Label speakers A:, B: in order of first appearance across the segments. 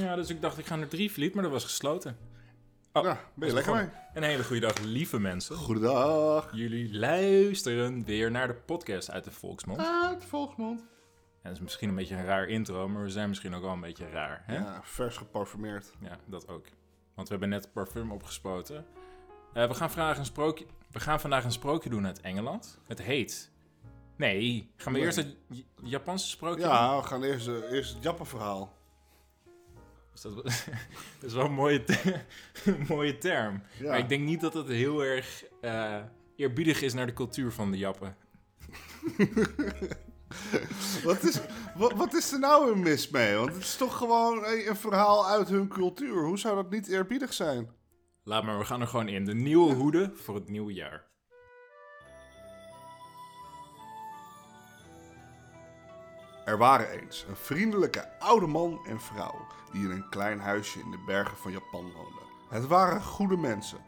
A: Ja, dus ik dacht, ik ga naar Drievliet, maar dat was gesloten. Oh,
B: Ja, ben je
A: was
B: lekker
A: begonnen.
B: mee?
A: Een hele goede dag, lieve mensen.
B: Goedendag.
A: Jullie luisteren weer naar de podcast uit de Volksmond. En
B: Uit Volksmond.
A: dat is misschien een beetje een raar intro, maar we zijn misschien ook wel een beetje raar. Hè?
B: Ja, vers geparfumeerd.
A: Ja, dat ook. Want we hebben net parfum opgespoten. Eh, we, gaan vandaag een sprookje, we gaan vandaag een sprookje doen uit Engeland. Het heet... Nee, gaan we
B: Nee.
A: eerst het J- Japanse sprookje doen?
B: Ja, we gaan eerst, eh, eerst het Jappen-verhaal.
A: Dus dat, was- dat is wel een mooie, te- een mooie term.
B: Ja.
A: Maar ik denk niet dat het heel erg eh, eerbiedig is naar de cultuur van de Jappen.
B: Wat is, wat, wat is er nou een mis mee? Want het is toch gewoon hey, een verhaal uit hun cultuur. Hoe zou dat niet eerbiedig zijn?
A: Laat maar, we gaan er gewoon in. De nieuwe hoede voor het nieuwe jaar.
B: Er waren eens een vriendelijke oude man en vrouw die in een klein huisje in de bergen van Japan woonden. Het waren goede mensen.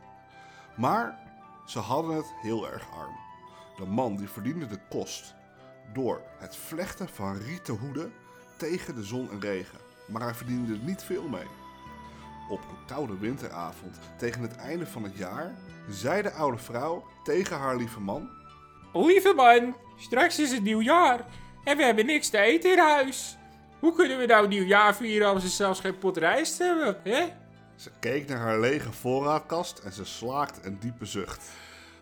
B: Maar ze hadden het heel erg arm. De man die verdiende de kost door het vlechten van rieten hoeden tegen de zon en regen. Maar hij verdiende er niet veel mee. Op een koude winteravond tegen het einde van het jaar zei de oude vrouw tegen haar lieve man
A: Lieve man, straks is het nieuwjaar en we hebben niks te eten in huis. Hoe kunnen we nou nieuwjaar vieren als we zelfs geen pot rijst hebben, hè?
B: Ze keek naar haar lege voorraadkast en ze slaakte een diepe zucht.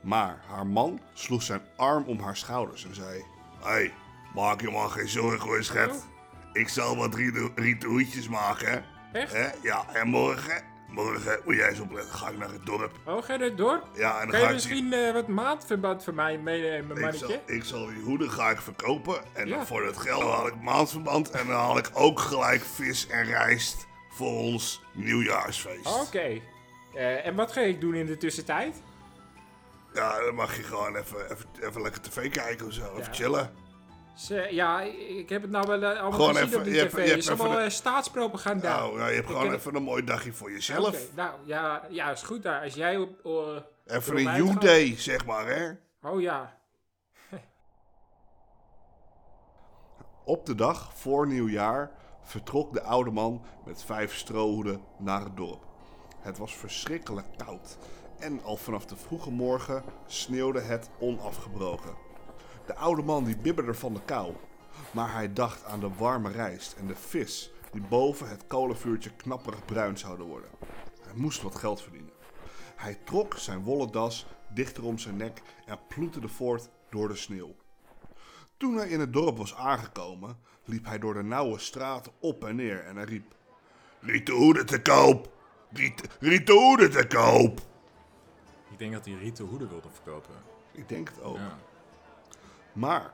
B: Maar haar man sloeg zijn arm om haar schouders en zei... Hé, hey, maak je man geen zorgen hoor,
A: Oh.
B: schat. Ik zal wat rieten- rieten hoedjes maken.
A: Echt?
B: Hè? Ja, en morgen... Morgen moet jij eens opletten, ga ik naar het dorp.
A: Oh, ga je dat door?
B: Ja,
A: Kan
B: en dan ga
A: je
B: ik...
A: misschien eh, wat maatverband voor mij meenemen,
B: Ik zal,
A: mannetje?
B: ik zal die hoeden ga ik verkopen en
A: Ja.
B: dan voor dat geld haal ik maandverband en dan haal ik ook gelijk vis en rijst voor ons nieuwjaarsfeest.
A: Oké. Eh, en wat ga ik doen in de tussentijd?
B: Ja, dan mag je gewoon even, even, even lekker tv kijken of zo. Even chillen.
A: Dus, eh, ja, ik heb het nou wel eh, allemaal
B: Gewoon
A: gezien
B: even-
A: op die
B: je hebt-
A: tv.
B: je hebt
A: is allemaal
B: even de-
A: eh, staatspropaganda.
B: Nou, nou, je hebt gewoon
A: ken-
B: even een mooi dagje voor
A: Oké,
B: jezelf.
A: nou, ja, ja, is goed daar. Als jij op... eh,
B: Even
A: erop
B: een you
A: uitgaat-
B: day, zeg maar, hè?
A: Oh ja,
B: Op de dag voor nieuwjaar vertrok de oude man met vijf strohoeden naar het dorp. Het was verschrikkelijk koud en al vanaf de vroege morgen sneeuwde het onafgebroken. De oude man die bibberde van de kou, maar hij dacht aan de warme rijst en de vis die boven het kolenvuurtje knapperig bruin zouden worden. Hij moest wat geld verdienen. Hij trok zijn wollen das dichter om zijn nek en ploeterde voort door de sneeuw. Toen hij in het dorp was aangekomen, liep hij door de nauwe straten op en neer en hij riep: Rieten hoeden te koop! Rieten rieten hoeden te koop!
A: Ik denk dat hij rieten hoeden wilde verkopen.
B: Ik denk het ook.
A: Ja.
B: Maar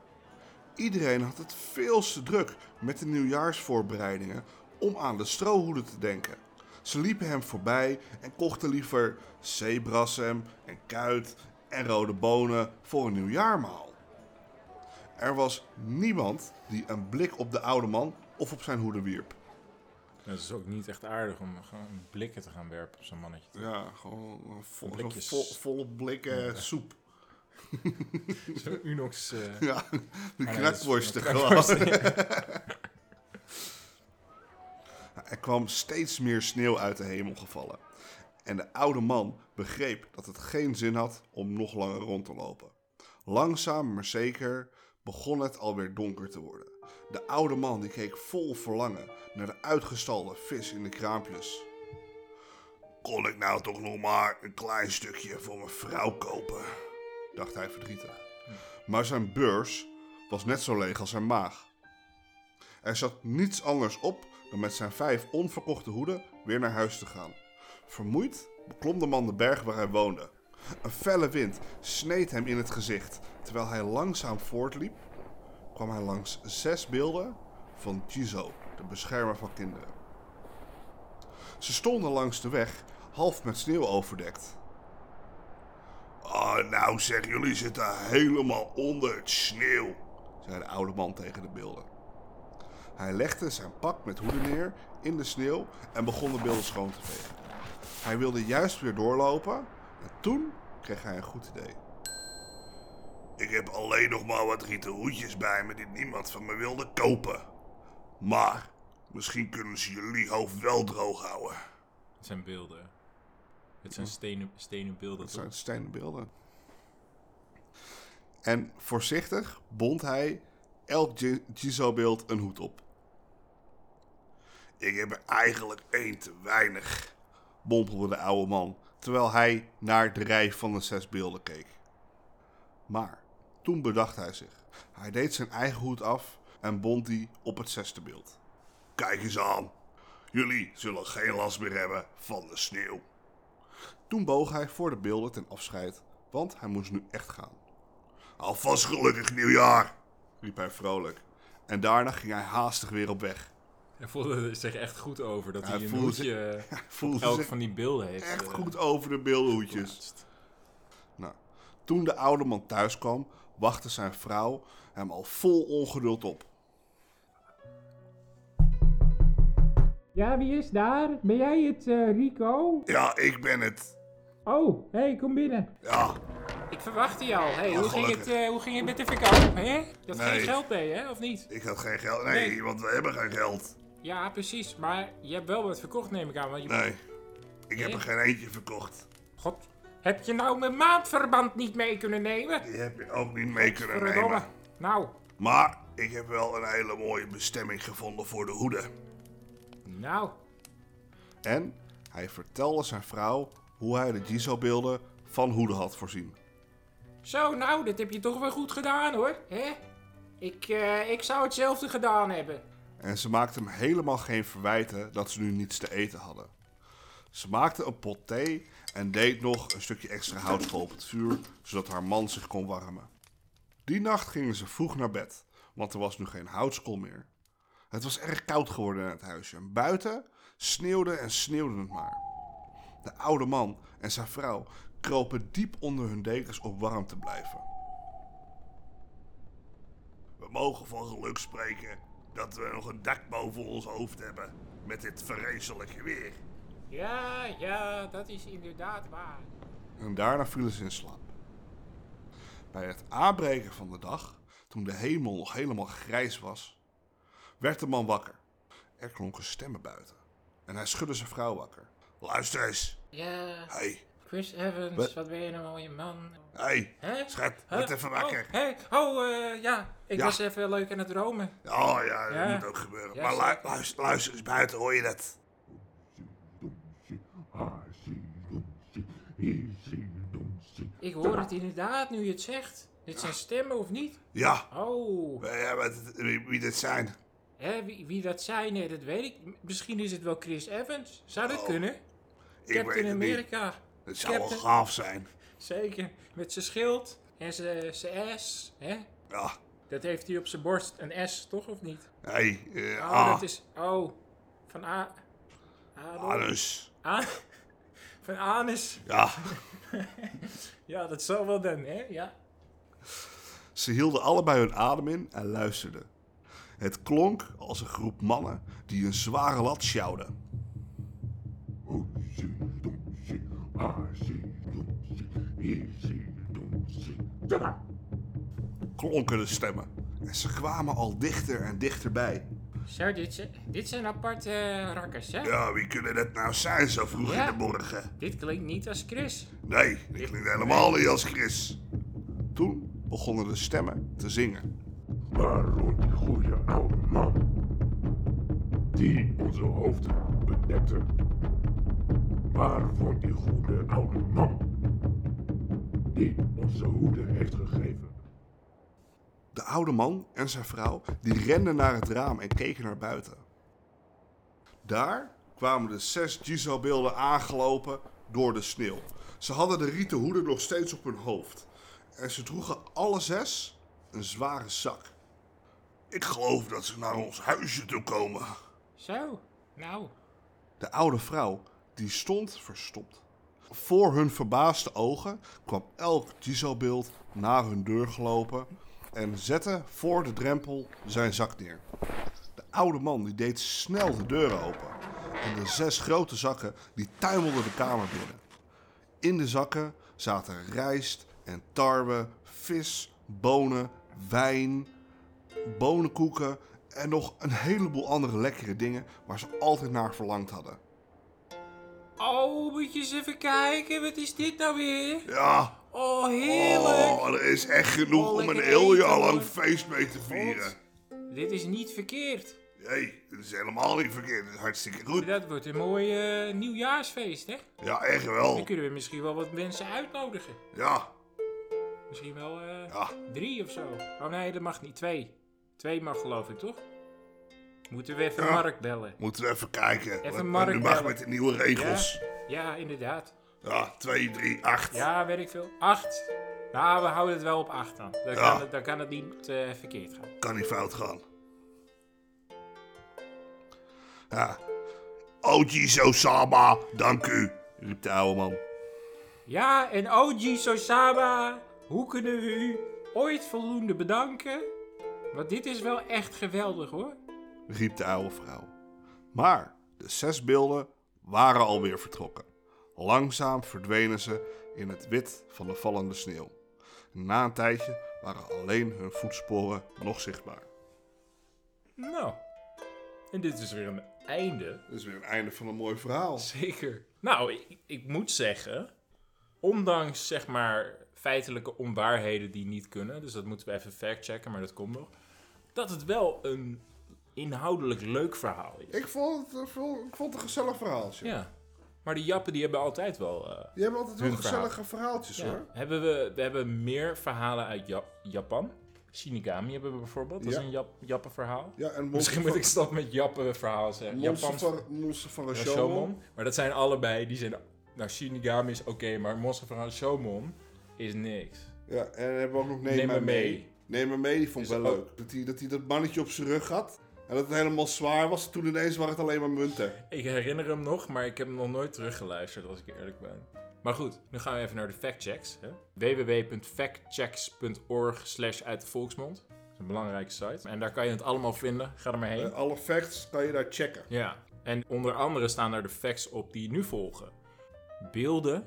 B: iedereen had het veel te druk met de nieuwjaarsvoorbereidingen om aan de strohoeden te denken. Ze liepen hem voorbij en kochten liever zeebrassem en kuit en rode bonen voor een nieuwjaarmaal. Er was niemand die een blik op de oude man of op zijn hoeden wierp.
A: Dat is ook niet echt aardig om gewoon blikken te gaan werpen op zo'n mannetje.
B: Ja, gewoon een vol,
A: Blikjes.
B: vol- volle blikken soep.
A: Zo'n Unox... eh,
B: Ja, de
A: nee, dat is
B: knakworsten
A: van de
B: gewoon. Er kwam steeds meer sneeuw uit de hemel gevallen. En de oude man begreep dat het geen zin had om nog langer rond te lopen. Langzaam maar zeker begon het alweer donker te worden. De oude man die keek vol verlangen naar de uitgestalde vis in de kraampjes. Kon ik nou toch nog maar een klein stukje voor mijn vrouw kopen? dacht hij verdrietig. Maar zijn beurs was net zo leeg als zijn maag. Er zat niets anders op dan met zijn vijf onverkochte hoeden weer naar huis te gaan. Vermoeid beklom de man de berg waar hij woonde. Een felle wind sneed hem in het gezicht. Terwijl hij langzaam voortliep, kwam hij langs zes beelden van Jizo, de beschermer van kinderen. Ze stonden langs de weg, half met sneeuw overdekt. Oh, nou zeg, jullie zitten helemaal onder het sneeuw, zei de oude man tegen de beelden. Hij legde zijn pak met hoeden neer in de sneeuw en begon de beelden schoon te vegen. Hij wilde juist weer doorlopen en toen kreeg hij een goed idee. Ik heb alleen nog maar wat rieten hoedjes bij me die niemand van me wilde kopen. Maar Misschien kunnen ze jullie hoofd wel droog houden.
C: Het zijn beelden. Het zijn stenen, stenen beelden.
B: Dat zijn
C: toch?
B: stenen beelden. En voorzichtig bond hij elk Gi- Gizo-beeld een hoed op. Ik heb er eigenlijk één te weinig, mompelde de oude man, terwijl hij naar de rij van de zes beelden keek. Maar toen bedacht hij zich. Hij deed zijn eigen hoed af en bond die op het zesde beeld. Kijk eens aan. Jullie zullen geen last meer hebben van de sneeuw. Toen boog hij voor de beelden ten afscheid, want hij moest nu echt gaan. Alvast gelukkig nieuwjaar, riep hij vrolijk. En daarna ging hij haastig weer op weg.
C: Hij voelde zich echt goed over dat
B: Hij
C: hij een
B: voelde
C: hoedje
B: Hij
C: op
B: voelde
C: elk
B: zich
C: van die beelden heeft.
B: echt
C: eh,
B: goed over de beeldenhoedjes.
C: geplaatst.
B: Nou, toen de oude man thuis kwam, wachtte zijn vrouw hem al vol ongeduld op.
A: Ja, wie is daar? Ben jij het, eh, Rico?
B: Ja, ik ben het.
A: Oh, hé, hey, kom binnen.
B: Ja,
A: Ik verwachtte je al. Hey,
B: Ja,
A: hoe, ging
B: Nou, gelukkig.
A: het, eh, hoe ging het met de verkoop, hè? Je had
B: Nee.
A: geen geld mee, hè? Of niet?
B: ik had geen geld.
A: Nee.
B: want we hebben geen geld.
A: Ja, precies. Maar je hebt wel wat verkocht, neem ik aan. Want je...
B: Nee, ik
A: Nee?
B: geen eentje verkocht.
A: God, heb je nou mijn maandverband niet mee kunnen nemen?
B: Die heb je ook niet mee kunnen
A: Verdomme. Nou,
B: Maar ik heb wel een hele mooie bestemming gevonden voor de hoeden.
A: nou.
B: En hij vertelde zijn vrouw hoe hij de Gizo-beelden van hoeden had voorzien.
A: Zo, nou, dat heb je toch wel goed gedaan, hoor. Hè? Ik, eh, ik zou hetzelfde gedaan hebben.
B: En ze maakte hem helemaal geen verwijten dat ze nu niets te eten hadden. Ze maakte een pot thee en deed nog een stukje extra hout voor op het vuur, zodat haar man zich kon warmen. Die nacht gingen ze vroeg naar bed, want er was nu geen houtskool meer. Het was erg koud geworden in het huisje en buiten sneeuwde en sneeuwde het maar. De oude man en zijn vrouw kropen diep onder hun dekens om warm te blijven. We mogen van geluk spreken dat we nog een dak boven ons hoofd hebben met dit vreselijke weer.
A: Ja, ja, dat is inderdaad waar.
B: En daarna vielen ze in slaap. Bij het aanbreken van de dag, toen de hemel nog helemaal grijs was, werd de man wakker. Er klonken stemmen buiten. En hij schudde zijn vrouw wakker. Luister eens.
A: Ja,
B: Hey,
A: Chris Evans,
B: Wat?
A: wat, ben je een mooie man.
B: hey.
A: Hè?
B: Schat,
A: Huh?
B: word even wakker.
A: Oh, hey. oh eh, ja, ik
B: Ja.
A: was even leuk aan het dromen.
B: Oh ja, dat
A: Ja.
B: moet ook gebeuren.
A: Ja,
B: maar lu-
A: zeker.
B: luister, luister eens buiten, hoor je dat?
A: Ik hoor het inderdaad nu je het zegt. Dit zijn stemmen of niet?
B: Ja.
A: Oh,
B: Ja, wat- wie, wie dit zijn?
A: hè, wie, wie dat zijn, hè, dat weet ik. M- Misschien is het wel Chris Evans. Zou dat
B: Oh,
A: kunnen?
B: Ik weet
A: Captain
B: het niet.
A: America.
B: Het zou wel
A: Captain-
B: gaaf zijn.
A: Zeker, met zijn schild en zijn zijn S. Hè?
B: Ja.
A: Dat heeft hij op zijn borst, een S, toch of niet?
B: Hey, eh,
A: Oh,
B: ah,
A: dat is. Oh, van A. Adel-
B: anus.
A: A- van Anus.
B: Ja.
A: Ja, dat zal wel dan, hè? Ja.
B: Ze hielden allebei hun adem in en luisterden. Het klonk als een groep mannen die een zware lat sjouwden. Klonken de stemmen. En ze kwamen al dichter en dichterbij.
A: Zo, dit, zi- dit zijn aparte eh, rakkers, hè?
B: Ja, wie kunnen dat nou zijn zo vroeg
A: Ja.
B: in de morgen?
A: Dit klinkt niet als Chris.
B: Nee, dat klinkt helemaal niet als Chris. Toen begonnen de stemmen te zingen.
D: Waarom die goede oude man die onze hoofden bedekte? Waar wordt die goede oude man die onze hoeden heeft gegeven?
B: De oude man en zijn vrouw die renden naar het raam en keken naar buiten. Daar kwamen de zes Gizo-beelden aangelopen door de sneeuw. Ze hadden de rieten hoeden nog steeds op hun hoofd. En ze droegen alle zes een zware zak. Ik geloof dat ze naar ons huisje toe komen.
A: Zo, nou.
B: De oude vrouw, die stond verstopt. Voor hun verbaasde ogen kwam elk Gizo-beeld naar hun deur gelopen en zette voor de drempel zijn zak neer. De oude man die deed snel de deuren open en de zes grote zakken die tuimelden de kamer binnen. In de zakken zaten rijst en tarwe, vis, bonen, wijn, bonenkoeken En nog een heleboel andere lekkere dingen waar ze altijd naar verlangd hadden.
A: Oh, moet je eens even kijken. Wat is dit nou weer?
B: Ja,
A: Oh, heerlijk.
B: oh, er is echt genoeg
A: Oh,
B: om een
A: lekker
B: heel
A: eten,
B: jaar lang
A: hoor.
B: feest mee te vieren. Oh.
A: Dit is niet verkeerd.
B: Nee, dat is helemaal niet verkeerd. Dat is hartstikke goed.
A: Dat wordt een mooi eh, nieuwjaarsfeest, hè?
B: Ja, echt
A: Dan
B: wel.
A: kunnen we misschien wel wat mensen uitnodigen.
B: Ja,
A: Misschien wel eh,
B: ja.
A: drie of zo. Oh nee, dat mag niet. Twee. Twee mag geloof ik, toch? Moeten we even
B: Ja.
A: Mark bellen.
B: Moeten we even kijken.
A: Even
B: Wat-
A: Mark
B: nu mag
A: bellen.
B: met de nieuwe regels.
A: Ja, inderdaad.
B: Ja, 2, 3, 8.
A: Ja, weet ik veel. Acht. Nou, we houden het wel op acht dan. Dan,
B: Ja.
A: kan, het, dan kan het niet eh, verkeerd gaan.
B: Kan niet fout gaan. Ja. Oji Sosama, dank u, riep de oude man.
A: Ja, en Oji Sosaba, hoe kunnen we u ooit voldoende bedanken? Want dit is wel echt geweldig hoor.
B: riep de oude vrouw. Maar de zes beelden waren alweer vertrokken. Langzaam verdwenen ze in het wit van de vallende sneeuw. Na een tijdje waren alleen hun voetsporen nog zichtbaar.
C: Nou. En dit is weer een einde.
B: Dit is weer het einde van een mooi verhaal.
C: Zeker. Nou, ik, ik moet zeggen, ondanks zeg maar feitelijke onwaarheden die niet kunnen, dus dat moeten we even factchecken, maar dat komt nog, dat het wel een inhoudelijk leuk verhaal is.
B: Ik vond het, eh, vo- ik vond het een gezellig verhaaltje.
C: Ja. Maar die jappen die hebben altijd wel... eh,
B: Je hebt altijd wel
C: Hun verhaal.
B: gezellige verhaaltjes
C: ja.
B: hoor.
C: hebben we, we hebben meer verhalen uit Ja- Japan. Shinigami hebben we bijvoorbeeld, dat
B: Ja.
C: is een Jap, Jappen verhaal.
B: Ja, en
C: Misschien moet ik stap met Jappen verhaal zeggen.
B: Monster
C: Japans
B: van, monster van
C: van
B: Rashomon.
C: Shomon. Maar dat zijn allebei, die zijn... Nou, Shinigami is oké, maar Monster van Shomon is niks.
B: Ja, en dan hebben we ook nog Neem,
C: Neem
B: maar
C: maar
B: mee.
C: mee.
B: Neem maar mee, die vond ik
C: Is
B: wel
C: ook-
B: leuk. Dat hij dat, hij dat mannetje op zijn rug had. En dat het helemaal zwaar was. Toen ineens waren het alleen maar munten.
C: Ik herinner hem nog, maar ik heb hem nog nooit teruggeluisterd, als ik eerlijk ben. Maar goed, nu gaan we even naar de factchecks. hè. www.factchecks.org slash uit de volksmond. Dat is een belangrijke site. En daar kan je het allemaal vinden. Ga er maar heen.
B: En Eh, alle facts kan je daar checken.
C: Ja, en onder andere staan daar de facts op die nu volgen. Beelden,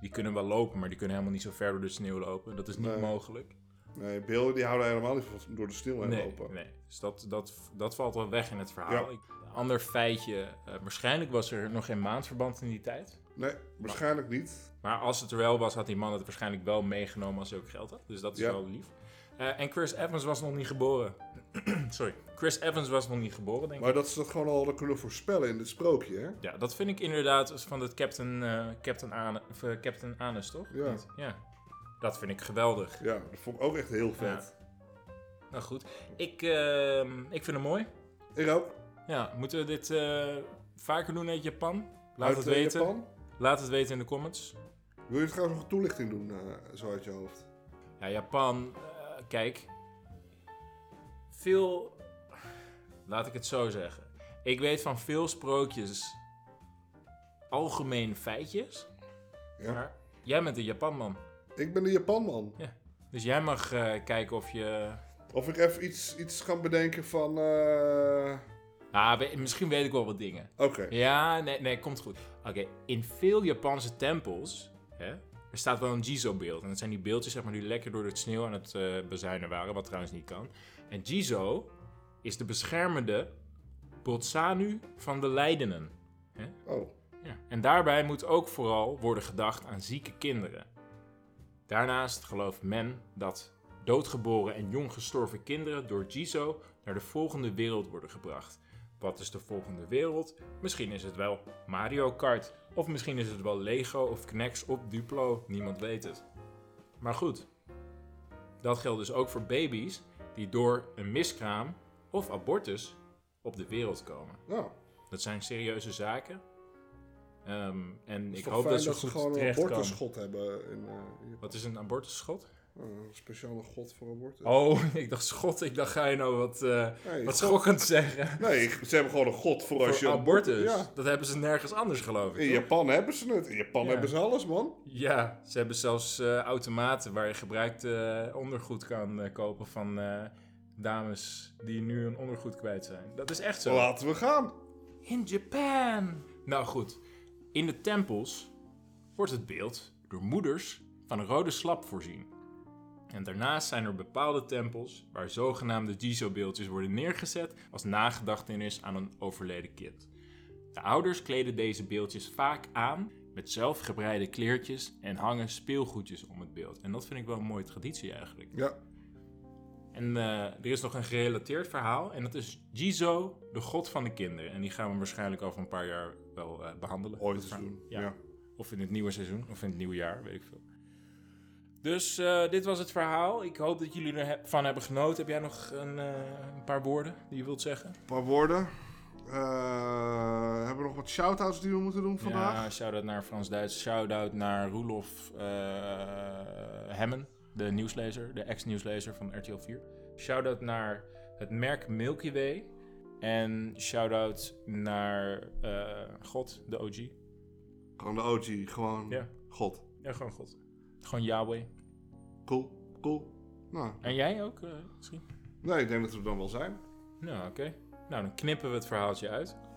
C: die kunnen wel lopen, maar die kunnen helemaal niet zo ver door de sneeuw lopen. Dat is niet
B: Nee.
C: mogelijk.
B: Nee, beelden die houden helemaal niet van door de stil heen
C: Nee,
B: lopen.
C: nee. Dus dat, dat, dat valt wel weg in het verhaal.
B: Ja.
C: Ik- Ander feitje, eh, waarschijnlijk was er nog geen maandverband in die tijd.
B: Nee,
C: Nou.
B: waarschijnlijk niet.
C: Maar als het er wel was, had die man het waarschijnlijk wel meegenomen als hij ook geld had. Dus dat is
B: Ja.
C: wel lief. Eh, en Chris Evans was nog niet geboren. Sorry. Chris Evans was nog niet geboren, denk ik.
B: Maar dat ze dat gewoon al hadden kunnen voorspellen in dit sprookje, hè?
C: Ja, dat vind ik inderdaad van dat Captain, eh Captain, Ane- of, eh, Captain Anus, toch?
B: Ja.
C: Niet? ja. Dat vind ik geweldig.
B: Ja, dat vond ik ook echt heel vet.
C: Nou goed, ik, ehm, ik vind hem mooi.
B: Ik ook.
C: Ja, moeten we dit eh, vaker doen uit Japan? Laat
B: Uit,
C: het
B: eh,
C: weten.
B: Japan.
C: Laat het weten in de comments.
B: Wil je trouwens nog een toelichting doen, eh, zo uit je hoofd?
C: Ja, Japan, eh, kijk. Veel. Laat ik het zo zeggen. Ik weet van veel sprookjes algemene feitjes.
B: Ja.
C: Maar jij bent een Japanman.
B: Ik ben de Japanman.
C: Dus jij mag eh, kijken of je.
B: Of ik even iets, iets kan bedenken van... eh,
C: Ah, we- misschien weet ik wel wat dingen.
B: Oké.
C: Ja, nee, nee, komt goed. Oké, in veel Japanse tempels. Hè, er staat wel een Jizo-beeld. En dat zijn die beeldjes zeg maar, die lekker door het sneeuw aan het eh, bezuinen waren. Wat trouwens niet kan. En Jizo is de beschermende Botsanu van de lijdenen.
B: Oh.
C: Ja. En daarbij moet ook vooral worden gedacht aan zieke kinderen. Daarnaast gelooft men dat doodgeboren en jong gestorven kinderen door Jizo naar de volgende wereld worden gebracht. Wat is de volgende wereld? Misschien is het wel Mario Kart. Of misschien is het wel Lego of Knex of Duplo. Niemand weet het. Maar goed, dat geldt dus ook voor baby's die door een miskraam of abortus op de wereld komen.
B: Nou,
C: Dat zijn serieuze zaken. Ehm, en
B: het
C: ik
B: is toch
C: hoop
B: fijn
C: dat ze goed
B: gewoon een
C: terecht komen.
B: abortusschot hebben. In, eh, in-
C: Wat is een abortusschot?
B: eh, een speciale god voor abortus.
C: Oh, ik dacht schot. Ik dacht ga je nou wat, eh,
B: Nee,
C: wat
B: god.
C: schokkend zeggen.
B: Nee, ze hebben gewoon een god voor, als je...
C: Voor abortus.
B: Ja.
C: Dat hebben ze nergens anders geloof
B: In
C: ik. toch?
B: Japan hebben ze het. In Japan
C: Ja.
B: hebben ze alles, man.
C: Ja, ze hebben zelfs eh, automaten waar je gebruikt eh, ondergoed kan eh, kopen van eh, dames die nu hun ondergoed kwijt zijn. Dat is echt zo.
B: Laten we gaan.
C: In Japan. Nou goed, in de tempels wordt het beeld door moeders van een rode slap voorzien. En daarnaast zijn er bepaalde tempels waar zogenaamde Jizo-beeldjes worden neergezet als nagedachtenis aan een overleden kind. De ouders kleden deze beeldjes vaak aan met zelfgebreide kleertjes en hangen speelgoedjes om het beeld. En dat vind ik wel een mooie traditie eigenlijk.
B: Ja,
C: En eh, er is nog een gerelateerd verhaal en dat is Jizo, de god van de kinderen. En die gaan we waarschijnlijk over een paar jaar wel eh, behandelen.
B: ooit
C: Dat
B: eens
C: verhaal.
B: doen.
C: Ja.
B: Ja.
C: Of in het nieuwe seizoen, of in het nieuwe jaar, weet ik veel. Dus eh, dit was het verhaal. Ik hoop dat jullie ervan hebben genoten. Heb jij nog een, eh, een paar woorden die je wilt zeggen?
B: Een paar woorden. Eh, hebben we nog wat shout-outs die we moeten doen vandaag?
C: Ja, shout-out naar Frans Duits. Shout-out naar Roelof eh, Hemmen, de nieuwslezer, de ex-nieuwslezer van RTL 4. Shout-out naar het merk Milky Way. En shout-out naar eh, God, de OG.
B: Gewoon de OG, gewoon
C: Ja.
B: God.
C: Ja, gewoon God. Gewoon Yahweh.
B: Cool, cool. Nou,
C: En jij ook eh, misschien?
B: nee, ik denk dat we er dan wel zijn.
C: Nou, oké. Nou, dan knippen we het verhaaltje uit.